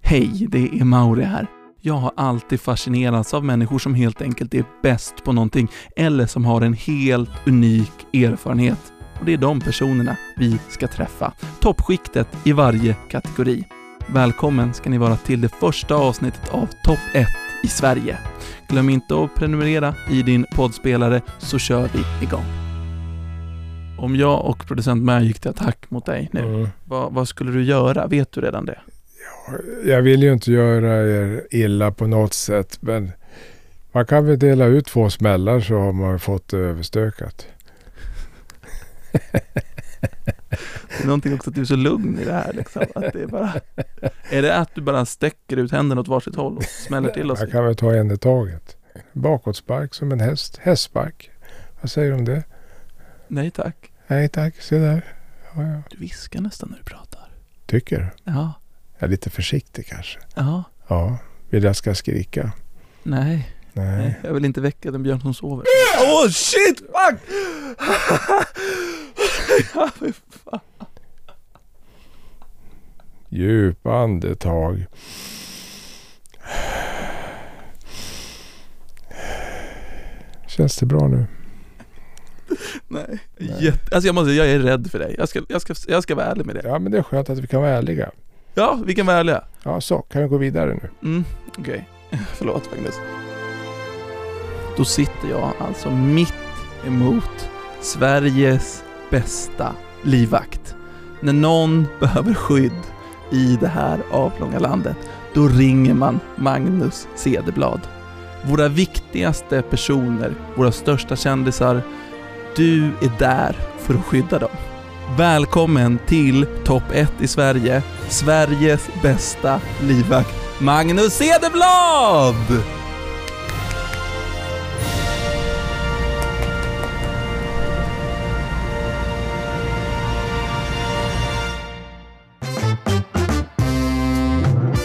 Hej, det är Mauri här. Jag har alltid fascinerats av människor som helt enkelt är bäst på någonting eller som har en helt unik erfarenhet. Och det är de personerna vi ska träffa. Toppskiktet i varje kategori. Välkommen ska ni vara till det första avsnittet av Topp 1 i Sverige. Glöm inte att prenumerera i din poddspelare så kör vi igång. Om jag och producent Mär gick till attack mot dig nu, Mm. vad, vad skulle du göra? Vet du redan det? Jag vill ju inte göra er illa på något sätt men man kan väl dela ut två smällar så har man fått det överstökat. Det är någonting också att du är så lugn i det här liksom, att det är bara... Är det att du bara sträcker ut händerna åt varsitt håll och smäller till oss? Man kan väl ta en i taget. Bakåtspark som en häst. Hästspark. Vad säger du om det? Nej tack. Nej tack, se där. Ja, jag Du viskar nästan när du pratar. tycker. Ja, Jag är lite försiktig kanske. ja, Ja, vill jag ska skrika? nej. Nej. nej. Jag vill inte väcka den björn som sover. Åh oh, shit! Fuck! Ja, fy fan. Djupa andetag. Känns det bra nu? Nej. Nej. Jätte... Alltså jag måste säga, jag är rädd för dig. Jag ska, jag, ska, jag ska vara ärlig med det. Ja, men det är skönt att vi kan vara ärliga. Ja, vi kan vara ärliga. Ja, så. Kan vi gå vidare nu? Mm, okej. Förlåt Magnus. Då sitter jag alltså mitt emot Sveriges bästa livvakt. När någon behöver skydd i det här avlånga landet, då ringer man Magnus Cederblad. Våra viktigaste personer, våra största kändisar, du är där för att skydda dem. Välkommen till topp 1 i Sverige, Sveriges bästa livvakt Magnus Cederblad!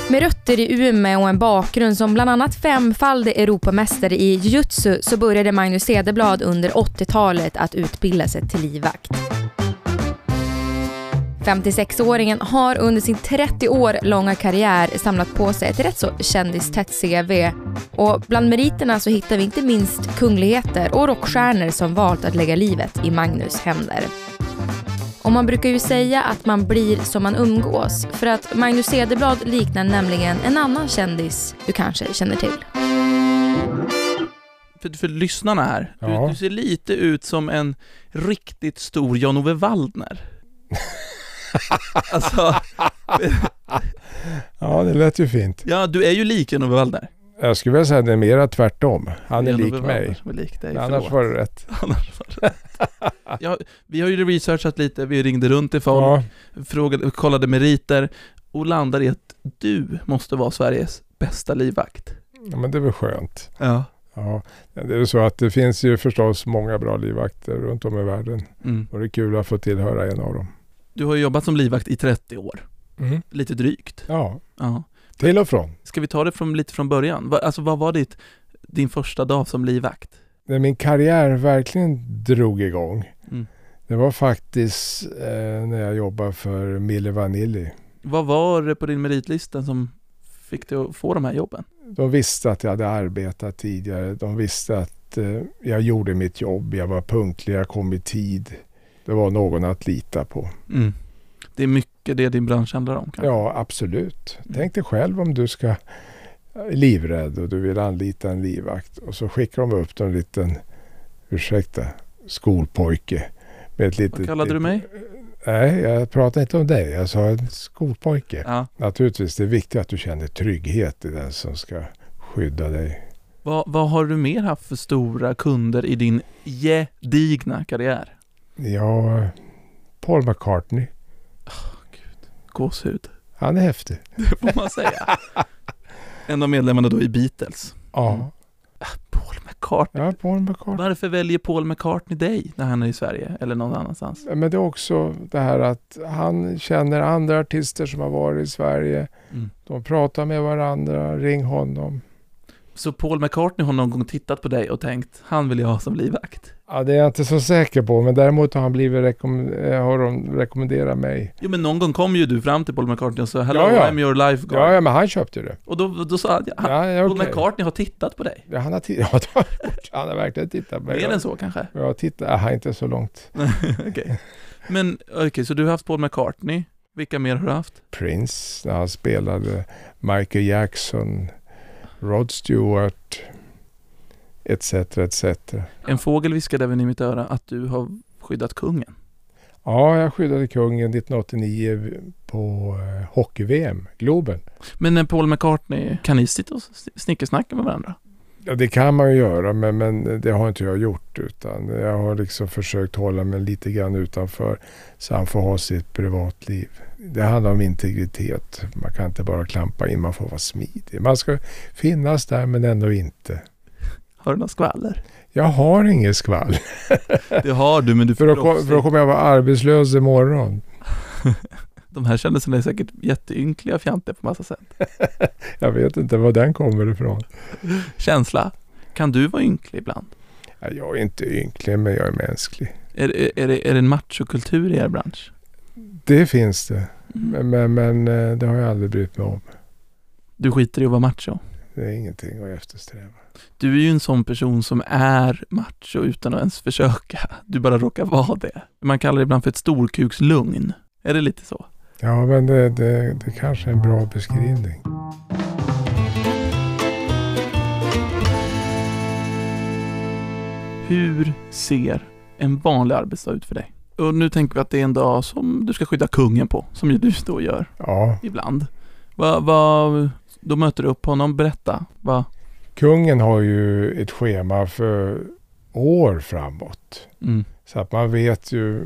Med rötter i Umeå och en bakgrund som bland annat femfaldig Europamästare i jujutsu så började Magnus Cederblad under 80-talet att utbilda sig till livvakt. 56-åringen har under sin 30 år långa karriär samlat på sig ett rätt så kändistätt CV. Och bland meriterna så hittar vi inte minst kungligheter och rockstjärnor som valt att lägga livet i Magnus händer. Och man brukar ju säga att man blir som man umgås. För att Magnus Cederblad liknar nämligen en annan kändis du kanske känner till. För, för lyssnarna här, du, Ja. du ser lite ut som en riktigt stor Jan-Ove Waldner. alltså, Ja, det lät ju fint. ja du är ju lik Jan-Ove Waldner. Jag skulle vilja säga att det är mera tvärtom. Han är Jan-Ove lik Waldner mig. som är lik dig, Annars förlåt. var det rätt. Annars var det rätt. ja, Vi har ju researchat lite, vi ringde runt till folk, Ja, frågade, kollade meriter och landade i att du måste vara Sveriges bästa livvakt. ja, men det var skönt. Ja. Ja, det är ju så att det finns ju förstås många bra livvakter runt om i världen. Mm. Och det är kul att få tillhöra en av dem. Du har ju jobbat som livvakt i 30 år, lite drygt. Ja, Ja. till och från. Ska vi ta det från, lite från början? Va, alltså vad var ditt, din första dag som livvakt? När min karriär verkligen drog igång. Mm. Det var faktiskt eh, när jag jobbade för Mille Vanilli. Vad var det på din meritlista som fick dig att få de här jobben? De visste att jag hade arbetat tidigare. De visste att eh, jag gjorde mitt jobb. Jag var punktlig, jag kom i tid. Det var någon att lita på. Mm. Det är mycket det din bransch handlar om kanske? Ja, absolut. Mm. Tänk dig själv om du ska är livrädd och du vill anlita en livvakt och så skickar de upp en liten, ursäkta, skolpojke. Med ett litet, Vad kallade du mig? Nej, jag pratar inte om dig. Jag sa en skolpojke. Ja. Naturligtvis, det är viktigt att du känner trygghet i den som ska skydda dig. Vad, vad har du mer haft för stora kunder i din gedigna karriär? Ja, Paul McCartney. Gåshud, Han är häftig. det får man säga. en av medlemmarna då i Beatles. Mm. Ja, Paul McCartney. ja Paul McCartney. Varför väljer Paul McCartney dig när han är i Sverige eller någon annanstans? Men det är också det här att han känner andra artister som har varit i Sverige. Mm. De pratar med varandra, ring honom. Så Paul McCartney har någon gång tittat på dig och tänkt, han vill jag ha som livvakt. Ja, det är jag inte så säker på, men däremot har, han blivit rekomm- eh, har de rekommenderat mig. Jo men någon gång kom ju du fram till Paul McCartney och sa, hello Ja, ja. I'm your lifeguard. Ja, ja men han köpte ju det. Och då, då sa han, ja, han Ja, ja, Paul okej. McCartney har tittat på dig. Ja, han, har t- ja, det har han gjort. han har verkligen tittat på mig. Mer än så kanske? Ja, titta, ah, inte så långt. Okej. Men okej, så du har haft Paul McCartney. Vilka mer har du haft? Prince, när han spelade Michael Jackson, Rod Stewart, etc. etc. En fågel viskade även i mitt öra att du har skyddat kungen. Ja, jag skyddade kungen 1989 på eh, hockey-VM, Globen. Men när Paul McCartney, kan ni sitta och s- snickesnacka med varandra? Ja, det kan man ju göra, men, men det har inte jag gjort. Utan jag har liksom försökt hålla mig lite grann utanför så han får ha sitt privatliv. Det handlar om integritet. Man kan inte bara klampa in, man får vara smidig. Man ska finnas där men ändå inte. Har du några skvaller? Jag har inget skvall. Det har du, men du För då, kom, för då kommer jag vara arbetslös imorgon. De här kändisarna är säkert jätteynkliga och fjantiga på massa sätt. Jag vet inte var den kommer ifrån. Känsla? Kan du vara ynklig ibland? Ja, Jag är inte ynklig, men jag är mänsklig. Är, är, är, det, är det en machokultur i er bransch? Det finns det, Mm. men, men, men eh, det har jag aldrig brytt mig om. Du skiter i att vara macho. Det är ingenting att eftersträva. Du är ju en sån person som är macho utan att ens försöka. Du bara råkar vara det. Man kallar det ibland för ett storkukslugn. Är det lite så? Ja, men det, det, det kanske är en bra beskrivning. Hur ser en vanlig arbetsdag ut för dig? Och nu tänker vi att det är en dag som du ska skydda kungen på, som ju du då gör Ja, ibland. Va, va, då möter du upp honom, berätta. Va? kungen har ju ett schema för år framåt. Mm. Så att man vet ju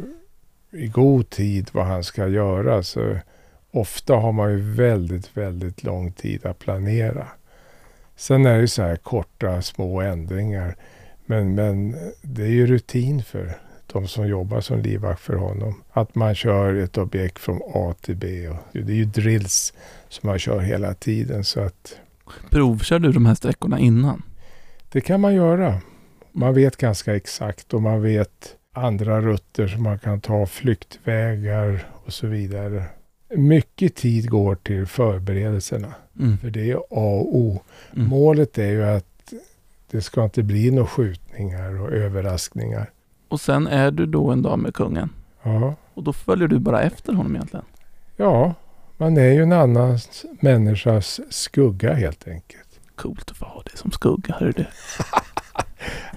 i god tid vad han ska göra. Så ofta har man ju väldigt, väldigt lång tid att planera. Sen är det ju så här korta små ändringar. Men, men det är ju rutin för de som jobbar som livvakt för honom. Att man kör ett objekt från A till B. Och det är ju drills som man kör hela tiden. Så att Provkör du de här sträckorna innan? det kan man göra. Man vet ganska exakt och man vet andra rutter som man kan ta, flyktvägar och så vidare. Mycket tid går till förberedelserna, Mm. för det är A och O. Mm. Målet är ju att det ska inte bli några skjutningar och överraskningar. Och sen är du då en dag med kungen. Ja, Och då följer du bara efter honom egentligen. ja man är ju en annan människas skugga helt enkelt. Coolt att få ha det som skugga, hörru du.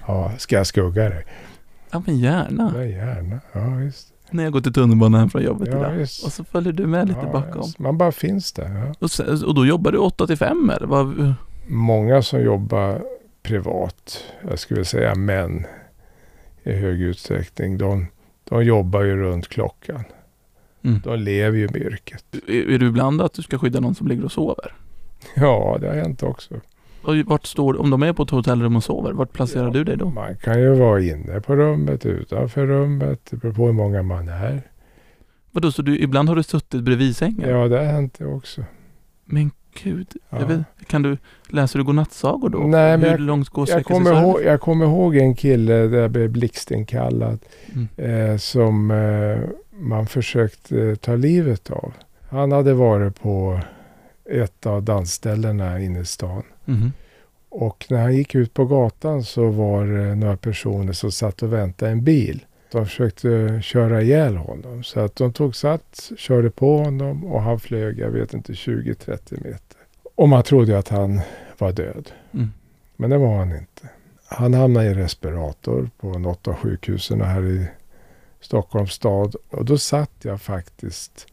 Ja, ska jag skugga dig? Ja men gärna. Ja, gärna. Ja, visst. När jag går till tunnelbanan hem från jobbet Ja, idag. visst. Och så följer du med lite Ja, bakom. visst. Man bara finns där. Ja. Och, sen, och då jobbar du 8 till 5 eller? Vad, många som jobbar privat, jag skulle säga män i hög utsträckning, de, de jobbar ju runt klockan. Mm. De lever ju med yrket. är, är du ibland att du ska skydda någon som ligger och sover? Ja, det har hänt också. Och vart står, om de är på ett hotellrum och sover, vart placerar Ja. du dig då? Man kan ju vara inne på rummet, utanför rummet, det beror på hur många man är. Vadå, så du, ibland har du suttit bredvid sängen? Ja, det har hänt det också. Men gud, Ja. jag vet, kan du, läser du godnattsagor då? Nej, men Hur jag- långt går Jag säkerhetsreserven? kommer, ihåg, jag kommer ihåg en kille där jag blev blixtinkallad Mm. eh, som eh, man försökte eh, ta livet av. Han hade varit på ett av dansställena inne i stan. Mhm. Och när han gick ut på gatan så var det några personer som satt och väntade en bil. De försökte eh, köra ihjäl honom. Så att de tog sats, körde på honom och han flög, jag vet inte, 20-30 meter. Och man trodde ju att han var död. Mm. Men det var han inte. Han hamnade i respirator på något av sjukhusen här i Stockholms stad. Och då satt jag faktiskt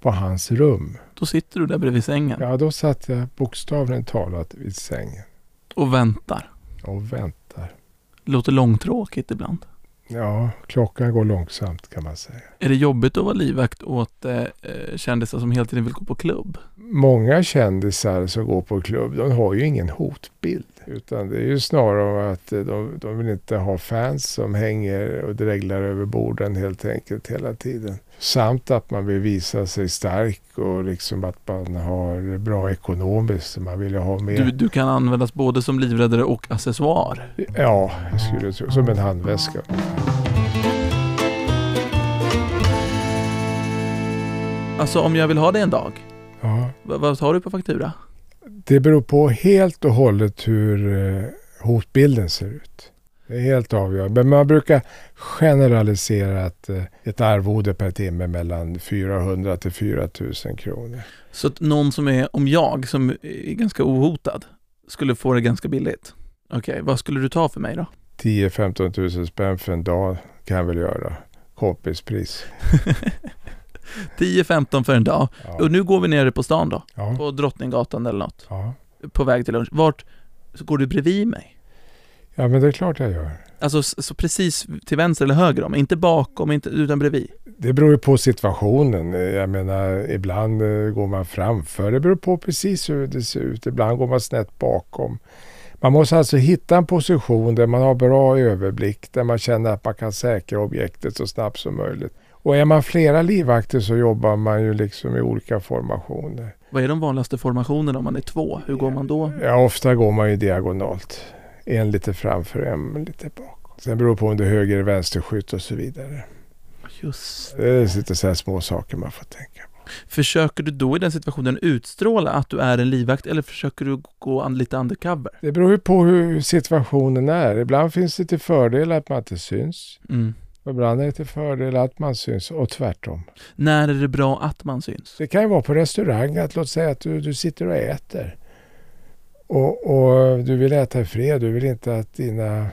på hans rum. Då sitter du där bredvid sängen Ja, då satt jag bokstavligen talat vid sängen och väntar. och väntade. Låter långtråkigt ibland. Ja, klockan går långsamt kan man säga. Är det jobbigt att vara livvakt åt eh, eh, kändisar som hela tiden vill gå på klubb? Många kändisar som går på klubb, de har ju ingen hotbild. Utan det är ju snarare att eh, de, de vill inte ha fans som hänger och dreglar över borden helt enkelt hela tiden. Samt att man vill visa sig stark och liksom att man har bra ekonomiskt. Man vill ju ha mer. Du, du kan användas både som livräddare och accessoar. Ja, jag skulle tro. Som en handväska. Alltså om jag vill ha det en dag, Ja. vad, vad tar du på faktura? Det beror på helt och hållet hur eh, hotbilden ser ut. Det är helt avgörande. Men man brukar generalisera att eh, ett arvode per timme mellan 400 till 4 000 kronor. Så att någon som är, om jag, som är ganska ohotad, skulle få det ganska billigt. Okej, vad skulle du ta för mig då? 10-15 000 spänn för en dag kan jag väl göra. Kompispris. 10-15 för en dag. Ja. Och nu går vi ner på stan då, Ja. på Drottninggatan eller något, Ja. på väg till lunch. Vart så går du bredvid mig? ja, men det är klart jag gör. Alltså s- så precis till vänster eller höger om mig, inte bakom, inte, utan bredvid. Det beror ju på situationen. Eh, Jag menar, ibland eh, går man framför. Det beror på precis hur det ser ut. Ibland går man snett bakom. Man måste alltså hitta en position där man har bra överblick, där man känner att man kan säkra objektet så snabbt som möjligt. Och är man flera livvakter så jobbar man ju liksom i olika formationer. Vad är de vanligaste formationerna om man är två? Hur går man då? Ja, ofta går man ju diagonalt. En lite framför, en lite bakom. Sen beror det på om det är höger eller vänsterskytt och så vidare. Just. Det är lite så här små saker man får tänka på. Försöker du då i den situationen utstråla att du är en livvakt eller försöker du gå an, lite undercover? Det beror ju på hur situationen är. Ibland finns det till fördel att man inte syns. Mm. Och ibland är det till fördel att man syns och tvärtom. När är det bra att man syns? Det kan ju vara på restaurang att låt säga att du, du sitter och äter. Och, och du vill äta i fred. Du vill inte att dina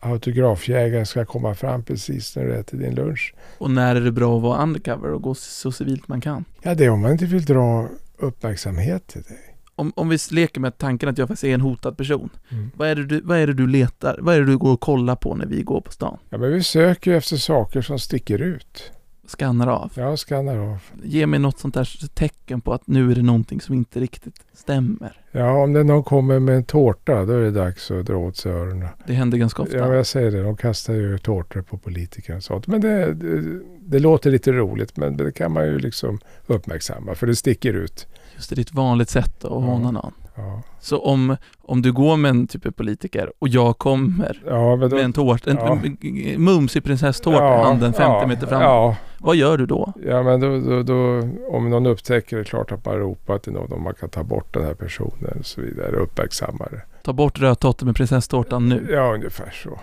autografjägare ska komma fram precis när du äter din lunch. Och när är det bra att vara undercover och gå så civilt man kan? Ja, det är om man inte vill dra uppmärksamhet till dig. Om, om vi leker med tanken att jag faktiskt är en hotad person. Mm. Vad är, det du, vad är det du letar? Vad är det du går och kollar på när vi går på stan? Ja, men vi söker ju efter saker som sticker ut. Skannar av. Jag skannar av. Ge mig något sånt där tecken på att nu är det någonting som inte riktigt stämmer. Ja, om det någon kommer med en tårta, då är det dags att dra åt sig öronen. Det händer ganska ofta. Ja, jag säger det. De kastar ju tårtor på politiker och sånt. Men det, det, det låter lite roligt, men det kan man ju liksom uppmärksamma, för det sticker ut. Just det, det är ett vanligt sätt att håna någon. Ja, Så om, om du går med en typ av politiker och jag kommer ja men då... med en tårta, en, Ja. en mumsig prinsesstårta i handen 50 ja, meter fram. Ja, Vad gör du då? ja men då, då, då, om någon upptäcker det, är klart att man ropar till någon om man kan ta bort den här personen och så vidare, uppmärksamma det. Ta bort rödtotten med prinsesstårtan nu. Ja, ungefär så.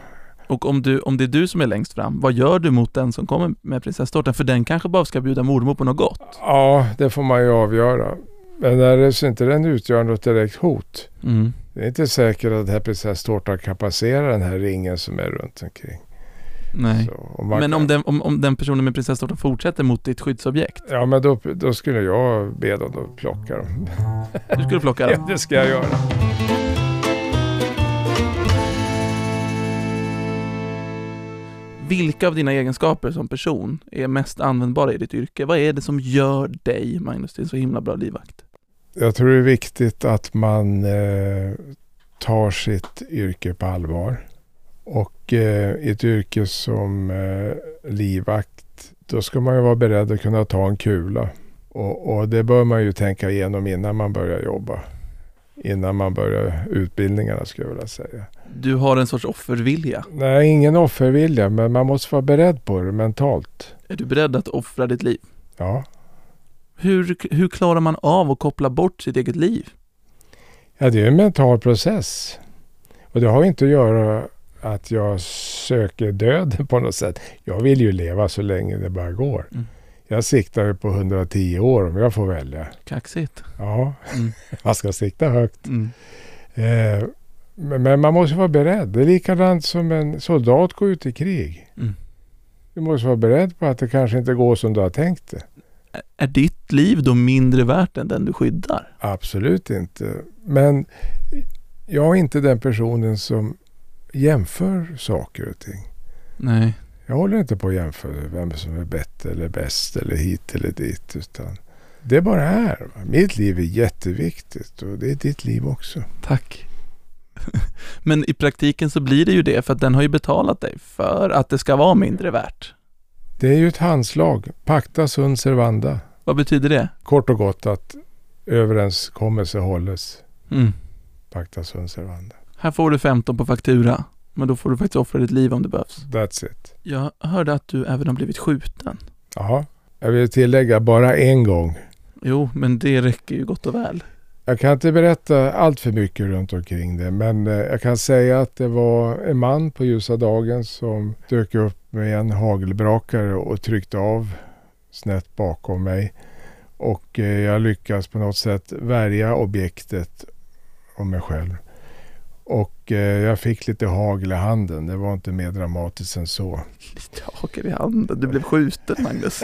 Och om, du, om det är du som är längst fram, vad gör du mot den som kommer med prinsesstårtan? För den kanske bara ska bjuda mormor på något gott. Ja, det får man ju avgöra. Men när det, så inte den utgör något direkt hot, Mm. Det är inte säkert att den här prinsesstårtan kan passera den här ringen som är runt omkring. Nej. Så, om man Men om kan- den, om, om den personen med prinsesstårtan fortsätter mot ditt skyddsobjekt, Ja, men då, då skulle jag be dem att plocka dem. du skulle plocka Ja, den. det ska jag göra. Vilka av dina egenskaper som person är mest användbara i ditt yrke? Vad är det som gör dig, Magnus, till en så himla bra livvakt? Jag tror det är viktigt att man eh, tar sitt yrke på allvar. Och eh, i ett yrke som eh, livvakt, då ska man ju vara beredd att kunna ta en kula. Och, och det bör man ju tänka igenom innan man börjar jobba. Innan man börjar utbildningarna skulle jag vilja säga. Du har en sorts offervilja. Nej, ingen offervilja, men man måste vara beredd på det mentalt. Är du beredd att offra ditt liv? Ja. Hur, hur klarar man av att koppla bort sitt eget liv? ja, det är en mental process. Och det har ju inte att göra att jag söker döden på något sätt. Jag vill ju leva så länge det bara går. Mm. Jag siktar ju på 110 år om jag får välja. Kaxigt. Ja, Mm. man ska sikta högt. Mm. Eh, men men man måste vara beredd. Det är likadant som en soldat går ut i krig. Mm. Du måste vara beredd på att det kanske inte går som du har tänkt det. Ä- Är ditt liv då mindre värt än den du skyddar? Absolut inte. Men jag är inte den personen som jämför saker och ting. Nej. Jag håller inte på att jämföra vem som är bättre eller bäst eller hit eller dit. Utan det bara är. va. Mitt liv är jätteviktigt och det är ditt liv också. Tack. Men i praktiken så blir det ju det för att den har ju betalat dig för att det ska vara mindre värt. Det är ju ett handslag. Pacta sunt servanda. Vad betyder det? Kort och gott att överenskommelse hålles. Mm. Pacta sunt servanda. Här får du 15 på faktura, men då får du faktiskt offra ditt liv om det behövs. That's it. Jag hörde att du även har blivit skjuten. Jaha. Jag vill tillägga bara en gång. Jo, men det räcker ju gott och väl. Jag kan inte berätta allt för mycket runt omkring det men eh, jag kan säga att det var en man på ljusa dagen som dök upp med en hagelbrakare och tryckte av snett bakom mig. Och eh, jag lyckas på något sätt värja objektet och mig själv. Och eh, jag fick lite hagel i handen. Det var inte mer dramatiskt än så. Lite haker i handen. Du blev skjuten, Magnus.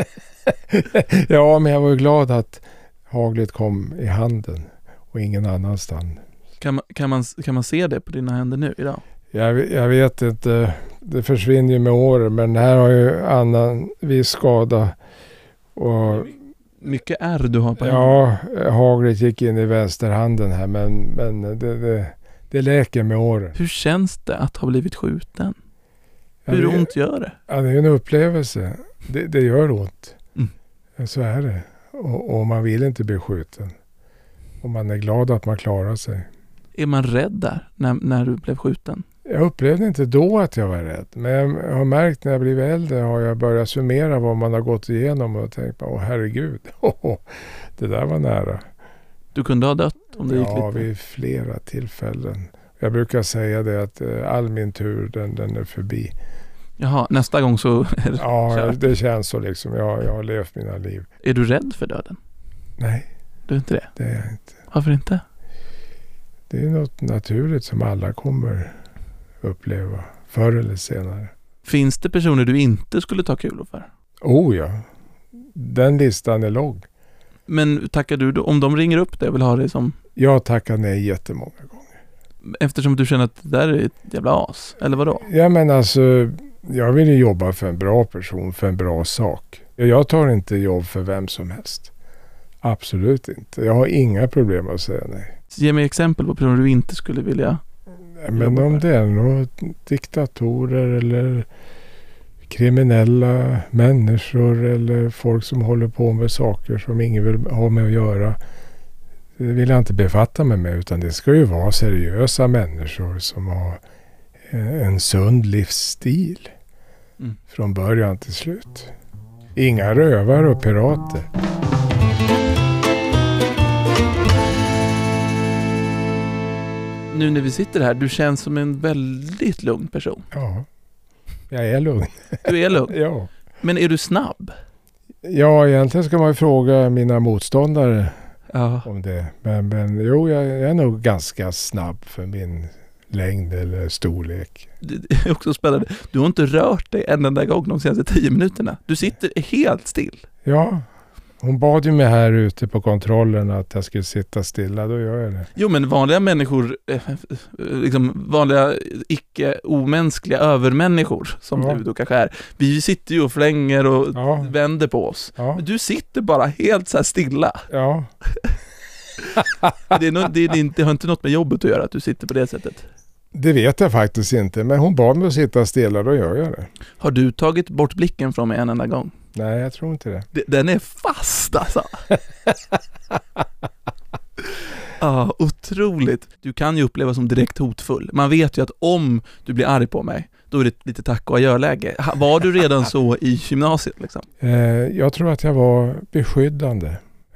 ja, men jag var ju glad att haglet kom i handen och ingen annanstans. Kan man, kan, man, kan man se det på dina händer nu idag? Jag, jag vet inte, det försvinner ju med åren men här har ju annan viss skada. Och Mycket ärr du har på händerna. ja, haglet gick in i vänsterhanden här men, men det, det, det läker med åren. Hur känns det att ha blivit skjuten? Ja, Hur det- ont gör det? Ja, det är ju en upplevelse. Det, det gör ont. Mm. Ja, Så är det. Och, och man vill inte bli skjuten. Och man är glad att man klarar sig. Är man rädd där när, när du blev skjuten? Jag upplevde inte då att jag var rädd. Men jag har märkt när jag blivit äldre har jag börjat summera vad man har gått igenom och tänkt åh herregud, det där var nära. Du kunde ha dött om det Ja, gick lite. vid flera tillfällen. Jag brukar säga det att eh, all min tur, den, den är förbi. Jaha, nästa gång så är, Ja, Kört. det känns så liksom. Jag, jag har levt mina liv. är du rädd för döden. Nej, Du är inte det? det är jag inte. Varför inte? Det är något naturligt som alla kommer uppleva förr eller senare. Finns det personer du inte skulle ta kulor för? Oh ja, den listan är lång. Men tackar du då, om de ringer upp dig och vill ha dig som, Jag tackar nej jättemånga gånger. eftersom du känner att det där är ett jävla as, eller vadå? Ja men alltså, jag vill ju jobba för en bra person, för en bra sak. Jag tar inte jobb för vem som helst. Absolut inte. Jag har inga problem att säga nej. Ge mig exempel på personer du inte skulle vilja. Men Jobba om för. det är några diktatorer eller kriminella människor eller folk som håller på med saker som ingen vill ha med att göra. Det vill jag inte befatta mig med utan det ska ju vara seriösa människor som har en en sund livsstil. Mm. Från början till slut. Inga rövare och pirater. Nu när vi sitter här, du känns som en väldigt lugn person. Ja, jag är lugn. Du är lugn. Ja. Men är du snabb? ja, egentligen ska man ju fråga mina motståndare Ja. om det. Men, men jo, jag, jag är nog ganska snabb för min längd eller storlek. Det är också spännande. Du har inte rört dig en enda gång de senaste tio minuterna. Du sitter helt still. Ja, hon bad ju mig här ute på kontrollen att jag skulle sitta stilla. Då gör jag det. Jo men vanliga människor, eh, eh, liksom vanliga icke-omänskliga övermänniskor som Ja. du då kanske är. Vi sitter ju och flänger och Ja, vänder på oss. ja, Men du sitter bara helt så här stilla. ja. Det, är nog, det, är inte, det har inte något med jobbet att göra att du sitter på det sättet. Det vet jag faktiskt inte. Men hon bad mig att sitta stilla. Då gör jag det. Har du tagit bort blicken från mig en enda gång? Nej, jag tror inte det. Det- Den är fast alltså. Ja, otroligt. Du kan ju upplevas som direkt hotfull. Man vet ju att om du blir arg på mig, då är det lite tack och adjö-läge. Ha- Var du redan så i gymnasiet liksom? Eh, jag tror att jag var beskyddande.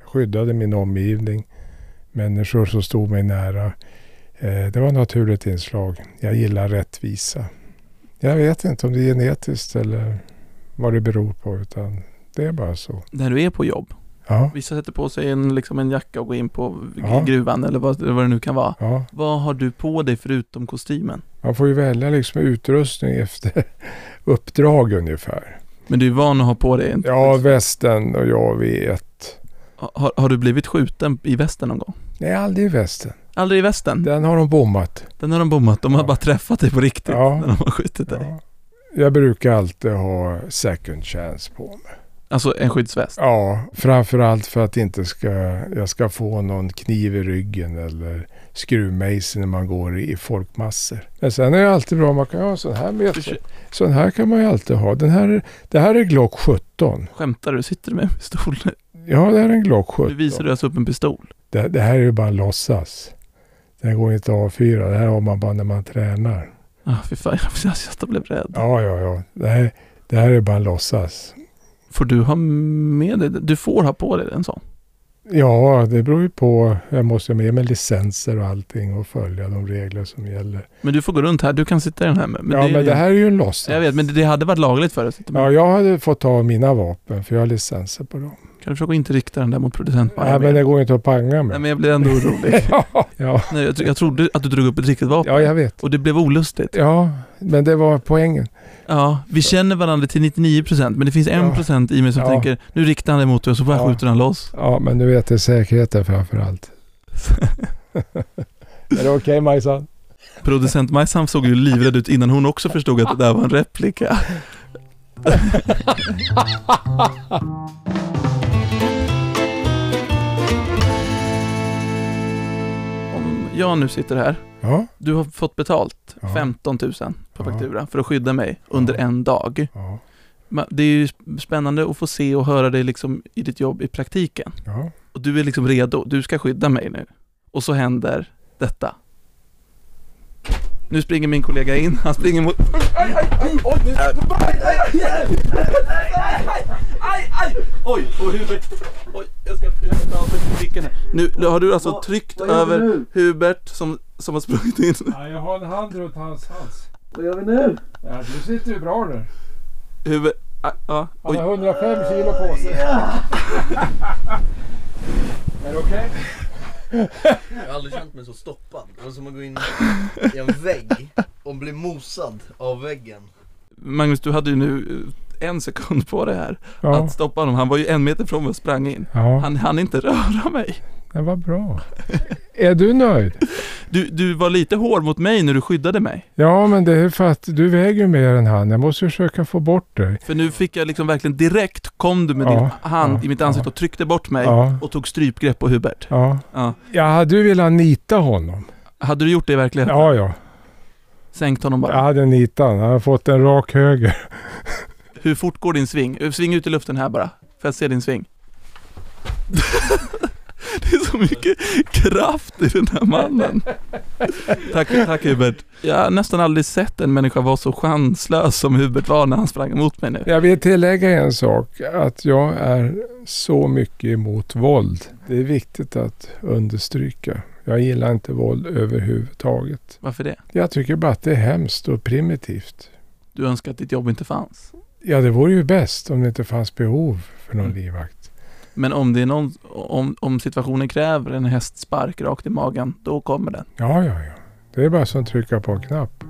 Jag skyddade min omgivning, människor som stod mig nära. Eh, det var ett naturligt inslag. Jag gillar rättvisa. Jag vet inte om det är genetiskt eller vad det beror på, utan det är bara så. När du är på jobb. Ja, Vissa sätter på sig en, liksom en jacka och går in på g- Ja. gruvan eller vad, vad det nu kan vara. ja. Vad har du på dig förutom kostymen? Man får ju välja liksom utrustning efter uppdrag ungefär. Men du är van att ha på dig en... Ja, västen och jag vet. Har, har du blivit skjuten i västen någon gång? Nej, aldrig västen. Aldrig i västen? Den har de bommat. Den har de bommat. De har Ja. bara träffat dig på riktigt Ja. när de har skjutit dig. Ja. Jag brukar alltid ha second chance på mig. Alltså en skyddsväst. Ja, framförallt för att inte ska, jag ska få någon kniv i ryggen eller skruvmejsel när man går i i folkmassor. Men sen är det alltid bra om man kan ha en sån här med sig. Sån här kan man ju alltid ha. Den här, det här är Glock 17. Skämtar du? Sitter du med en pistol nu? Ja, det här är en Glock Nu 17. visar du alltså upp en pistol. Det, det här är ju bara låtsas. Den går inte att avfyra. Det här har man bara när man tränar. Ah, fy fan, jag, jag blev rädd. Ja, ja, ja. Det här, det här är bara en låtsas. Får du ha med dig den? Du får ha på dig en sån. Ja, det beror ju på. Jag måste ju ha med mig licenser och allting och följa de regler som gäller. Men du får gå runt här, du kan sitta i den här med. ja, är men ju- det här är ju en låtsas. Jag vet, men det hade varit lagligt för dig att sitta med. Ja, jag hade fått ta mina vapen för jag har licenser på dem. Kan du försöka inte rikta den där mot producentmannen? Nej, men det jag... går inte att panga Nej, med. men jag blev ändå orolig. ja, ja, Nej, jag, tro- jag trodde att du drog upp ett riktigt vapen. ja, jag vet. Och det blev olustigt. Ja, men det var poängen. Ja, vi känner varandra till 99% men det finns Ja. 1% i mig som Ja. tänker nu riktar han det mot dig och så bara Ja. skjuter han loss. Ja, men nu vet jag säkerheten framför allt. Är det okej Majsan? Producent Majsan såg ju livrädd ut innan hon också förstod att det där var en replika. Om jag nu sitter här, Ja, du har fått betalt Ja. 15 000 på Ja. faktura för att skydda mig under Ja. en dag. ja, Men Det är ju spännande att få se och höra dig liksom i ditt jobb i praktiken. ja. Och du är liksom redo, du ska skydda mig nu. Och så händer detta. Nu springer min kollega in, han springer mot... Oj, och Hubert... Oj, jag ska försöka ta av mig blicken här. Nu nu har du alltså tryckt vad gör vi över nu? Hubert som, som har sprungit in. Jag har en hand runt hans hals. Vad gör vi nu? Ja, du sitter ju bra nu. Hubert... ah, Ja, oj. 105 kilo på sig. Är det okej? Jag har aldrig känt mig så stoppad. Det var som att gå in i en vägg och bli mosad av väggen. Magnus, du hade ju nu eh, en sekund på det här. Ja, Att stoppa honom. Han var ju en meter från mig och sprang in. ja. Han hann inte röra mig. det var bra. Är du nöjd? Du, du var lite hård mot mig när du skyddade mig. Ja, men det är för att du väger ju mer än han. Jag måste försöka få bort dig. För nu fick jag liksom verkligen direkt kom du med Ja, din hand ja, i mitt ansikte och tryckte bort mig Ja. och tog strypgrepp på Hubert. Ja. Ja. Jag hade ju velat nita honom. Hade du gjort det i verkligheten? Ja, ja. Sänkt honom bara. Jag hade nitat honom. Han hade fått en rak höger. Hur fort går din sving? Eh, Sving ut i luften här bara. Får jag se din sving? det är så mycket kraft i den här mannen. tack, tack Hubert. Jag har nästan aldrig sett en människa vara så chanslös som Hubert var när han sprang emot mig nu. Jag vill tillägga en sak. Att jag är så mycket emot våld. Det är viktigt att understryka. Jag gillar inte våld överhuvudtaget. Varför det? Jag tycker bara att det är hemskt och primitivt. Du önskar att ditt jobb inte fanns. Ja, det vore ju bäst om det inte fanns behov för någon Mm. livvakt. Men om, det är någon, om, om situationen kräver en hästspark rakt i magen, då kommer den. Ja, ja, ja. Det är bara som att trycka på en knapp.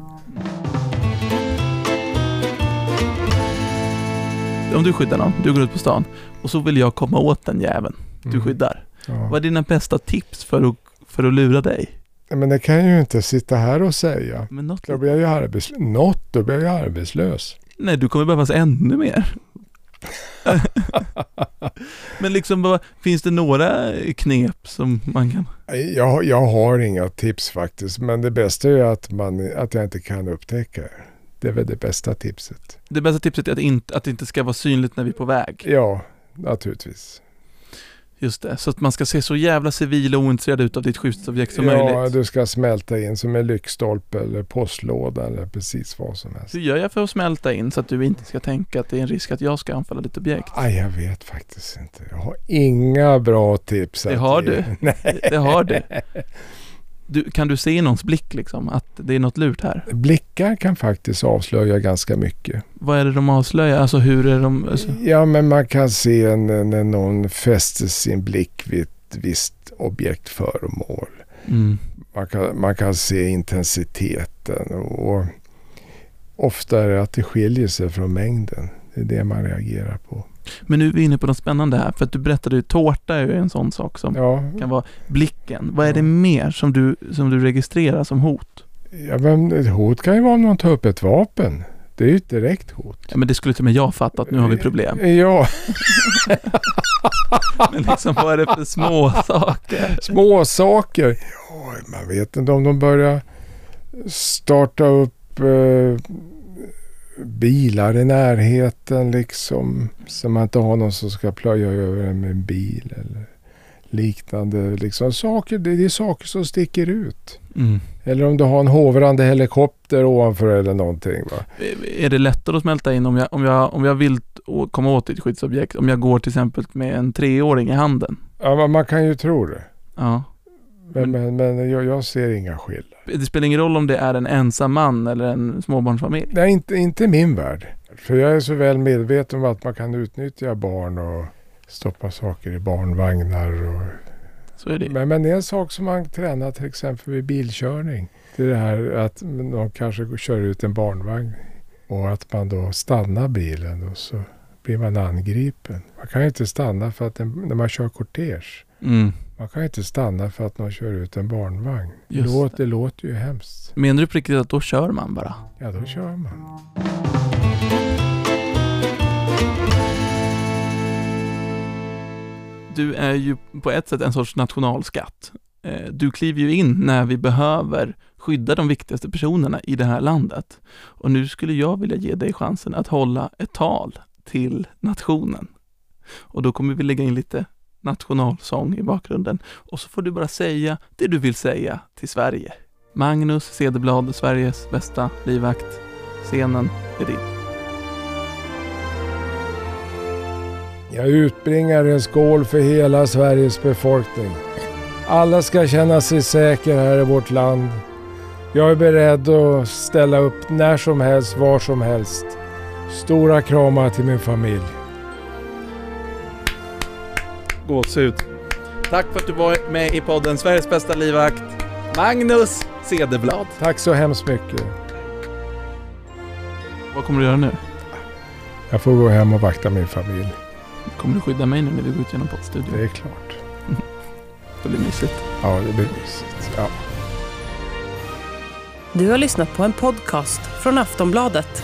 Om du skyddar någon, du går ut på stan och så vill jag komma åt den jäveln du Mm. skyddar. Ja. Vad är dina bästa tips för att, för att lura dig? Men det kan jag ju inte sitta här och säga. Men något, Då blir jag ju arbetslös. Något, då blir jag ju arbetslös. nej, du kommer behövas ännu mer. Men liksom, vad- finns det några knep som man kan... Nej, Jag, jag har inga tips faktiskt. Men det bästa är ju att, man, att jag inte kan upptäcka det. Det är väl det bästa tipset. Det bästa tipset är att, inte, att det inte ska vara synligt när vi är på väg. Ja, naturligtvis. Just det, så att man ska se så jävla civil och ointresserad ut av ditt skyddsobjekt som ja, möjligt. du ska smälta in som en lyktstolpe eller postlåda eller precis vad som helst. Hur gör jag för att smälta in så att du inte ska tänka att det är en risk att jag ska anfalla ditt objekt? Aj, jag vet faktiskt inte. Jag har inga bra tips. Det att har ge. du. Nej. Det har du. du. Kan du se i någons blick liksom att det är något lurt här? Blickar kan faktiskt avslöja ganska mycket. Vad är det de avslöjar? Alltså hur är de... Alltså, Ja, men man kan se när, när någon fäster sin blick vid ett visst objektföremål. mm. Man kan, man kan se intensiteten och ofta är det att det skiljer sig från mängden. Det är det man reagerar på. Men nu är vi inne på något spännande här, för att du berättade ju tårta är ju en sån sak som Ja, kan vara blicken. Vad är det mer som du, som du registrerar som hot? ja men ett hot kan ju vara om någon tar upp ett vapen. Det är ju ett direkt hot. Ja, men det skulle till och med jag fatta att nu har vi problem. Ja, Men liksom vad är det för små saker? små saker. Ja, man vet inte om de börjar starta upp eh, bilar i närheten liksom. Så man inte har någon som ska plöja över en med en bil eller liknande. Liksom. Saker, det det är saker som sticker ut. Mm. Eller om du har en hovrande helikopter ovanför eller någonting. Va? Är det lättare att smälta in om jag, om jag, om jag vill å- komma åt ett skyddsobjekt? Om jag går till exempel med en treåring i handen? Ja, men man kan ju tro det. Ja. Men, men, men jag, jag ser inga skillnader. Det spelar ingen roll om det är en ensam man eller en småbarnsfamilj. Nej, inte, inte i min värld. För jag är så väl medveten om att man kan utnyttja barn och stoppa saker i barnvagnar. Och... Så är det ju. Men, men det är en sak som man tränar till exempel vid bilkörning. Det är det här att de kanske kör ut en barnvagn och att man då stannar bilen och så blir man angripen. Man kan ju inte stanna för att en, när man kör kortege. Mm. Man kan ju inte stanna för att någon kör ut en barnvagn. Det Just låter, det låter ju hemskt. Menar du på riktigt att då kör man bara? Ja, då kör man. Du är ju på ett sätt en sorts nationalskatt. Eh, Du kliver ju in när vi behöver skydda de viktigaste personerna i det här landet. Och nu skulle jag vilja ge dig chansen att hålla ett tal till nationen. Och då kommer vi lägga in lite nationalsång i bakgrunden. Och så får du bara säga det du vill säga till Sverige. Magnus Cederblad, Sveriges bästa livvakt. Scenen är din. Jag utbringar en skål för hela Sveriges befolkning. Alla ska känna sig säkra här i vårt land. Jag är beredd att ställa upp när som helst, var som helst. Stora kramar till min familj. gåshud. Tack för att du var med i podden Sveriges bästa livvakt, Magnus Cederblad. Tack så hemskt mycket. Vad kommer du göra nu? Jag får gå hem och vakta min familj. Kommer du skydda mig nu när vi går ut genom poddstudion? Det är klart. Det blir mysigt. Ja, det blir mysigt. Ja. Du har lyssnat på en podcast från Aftonbladet.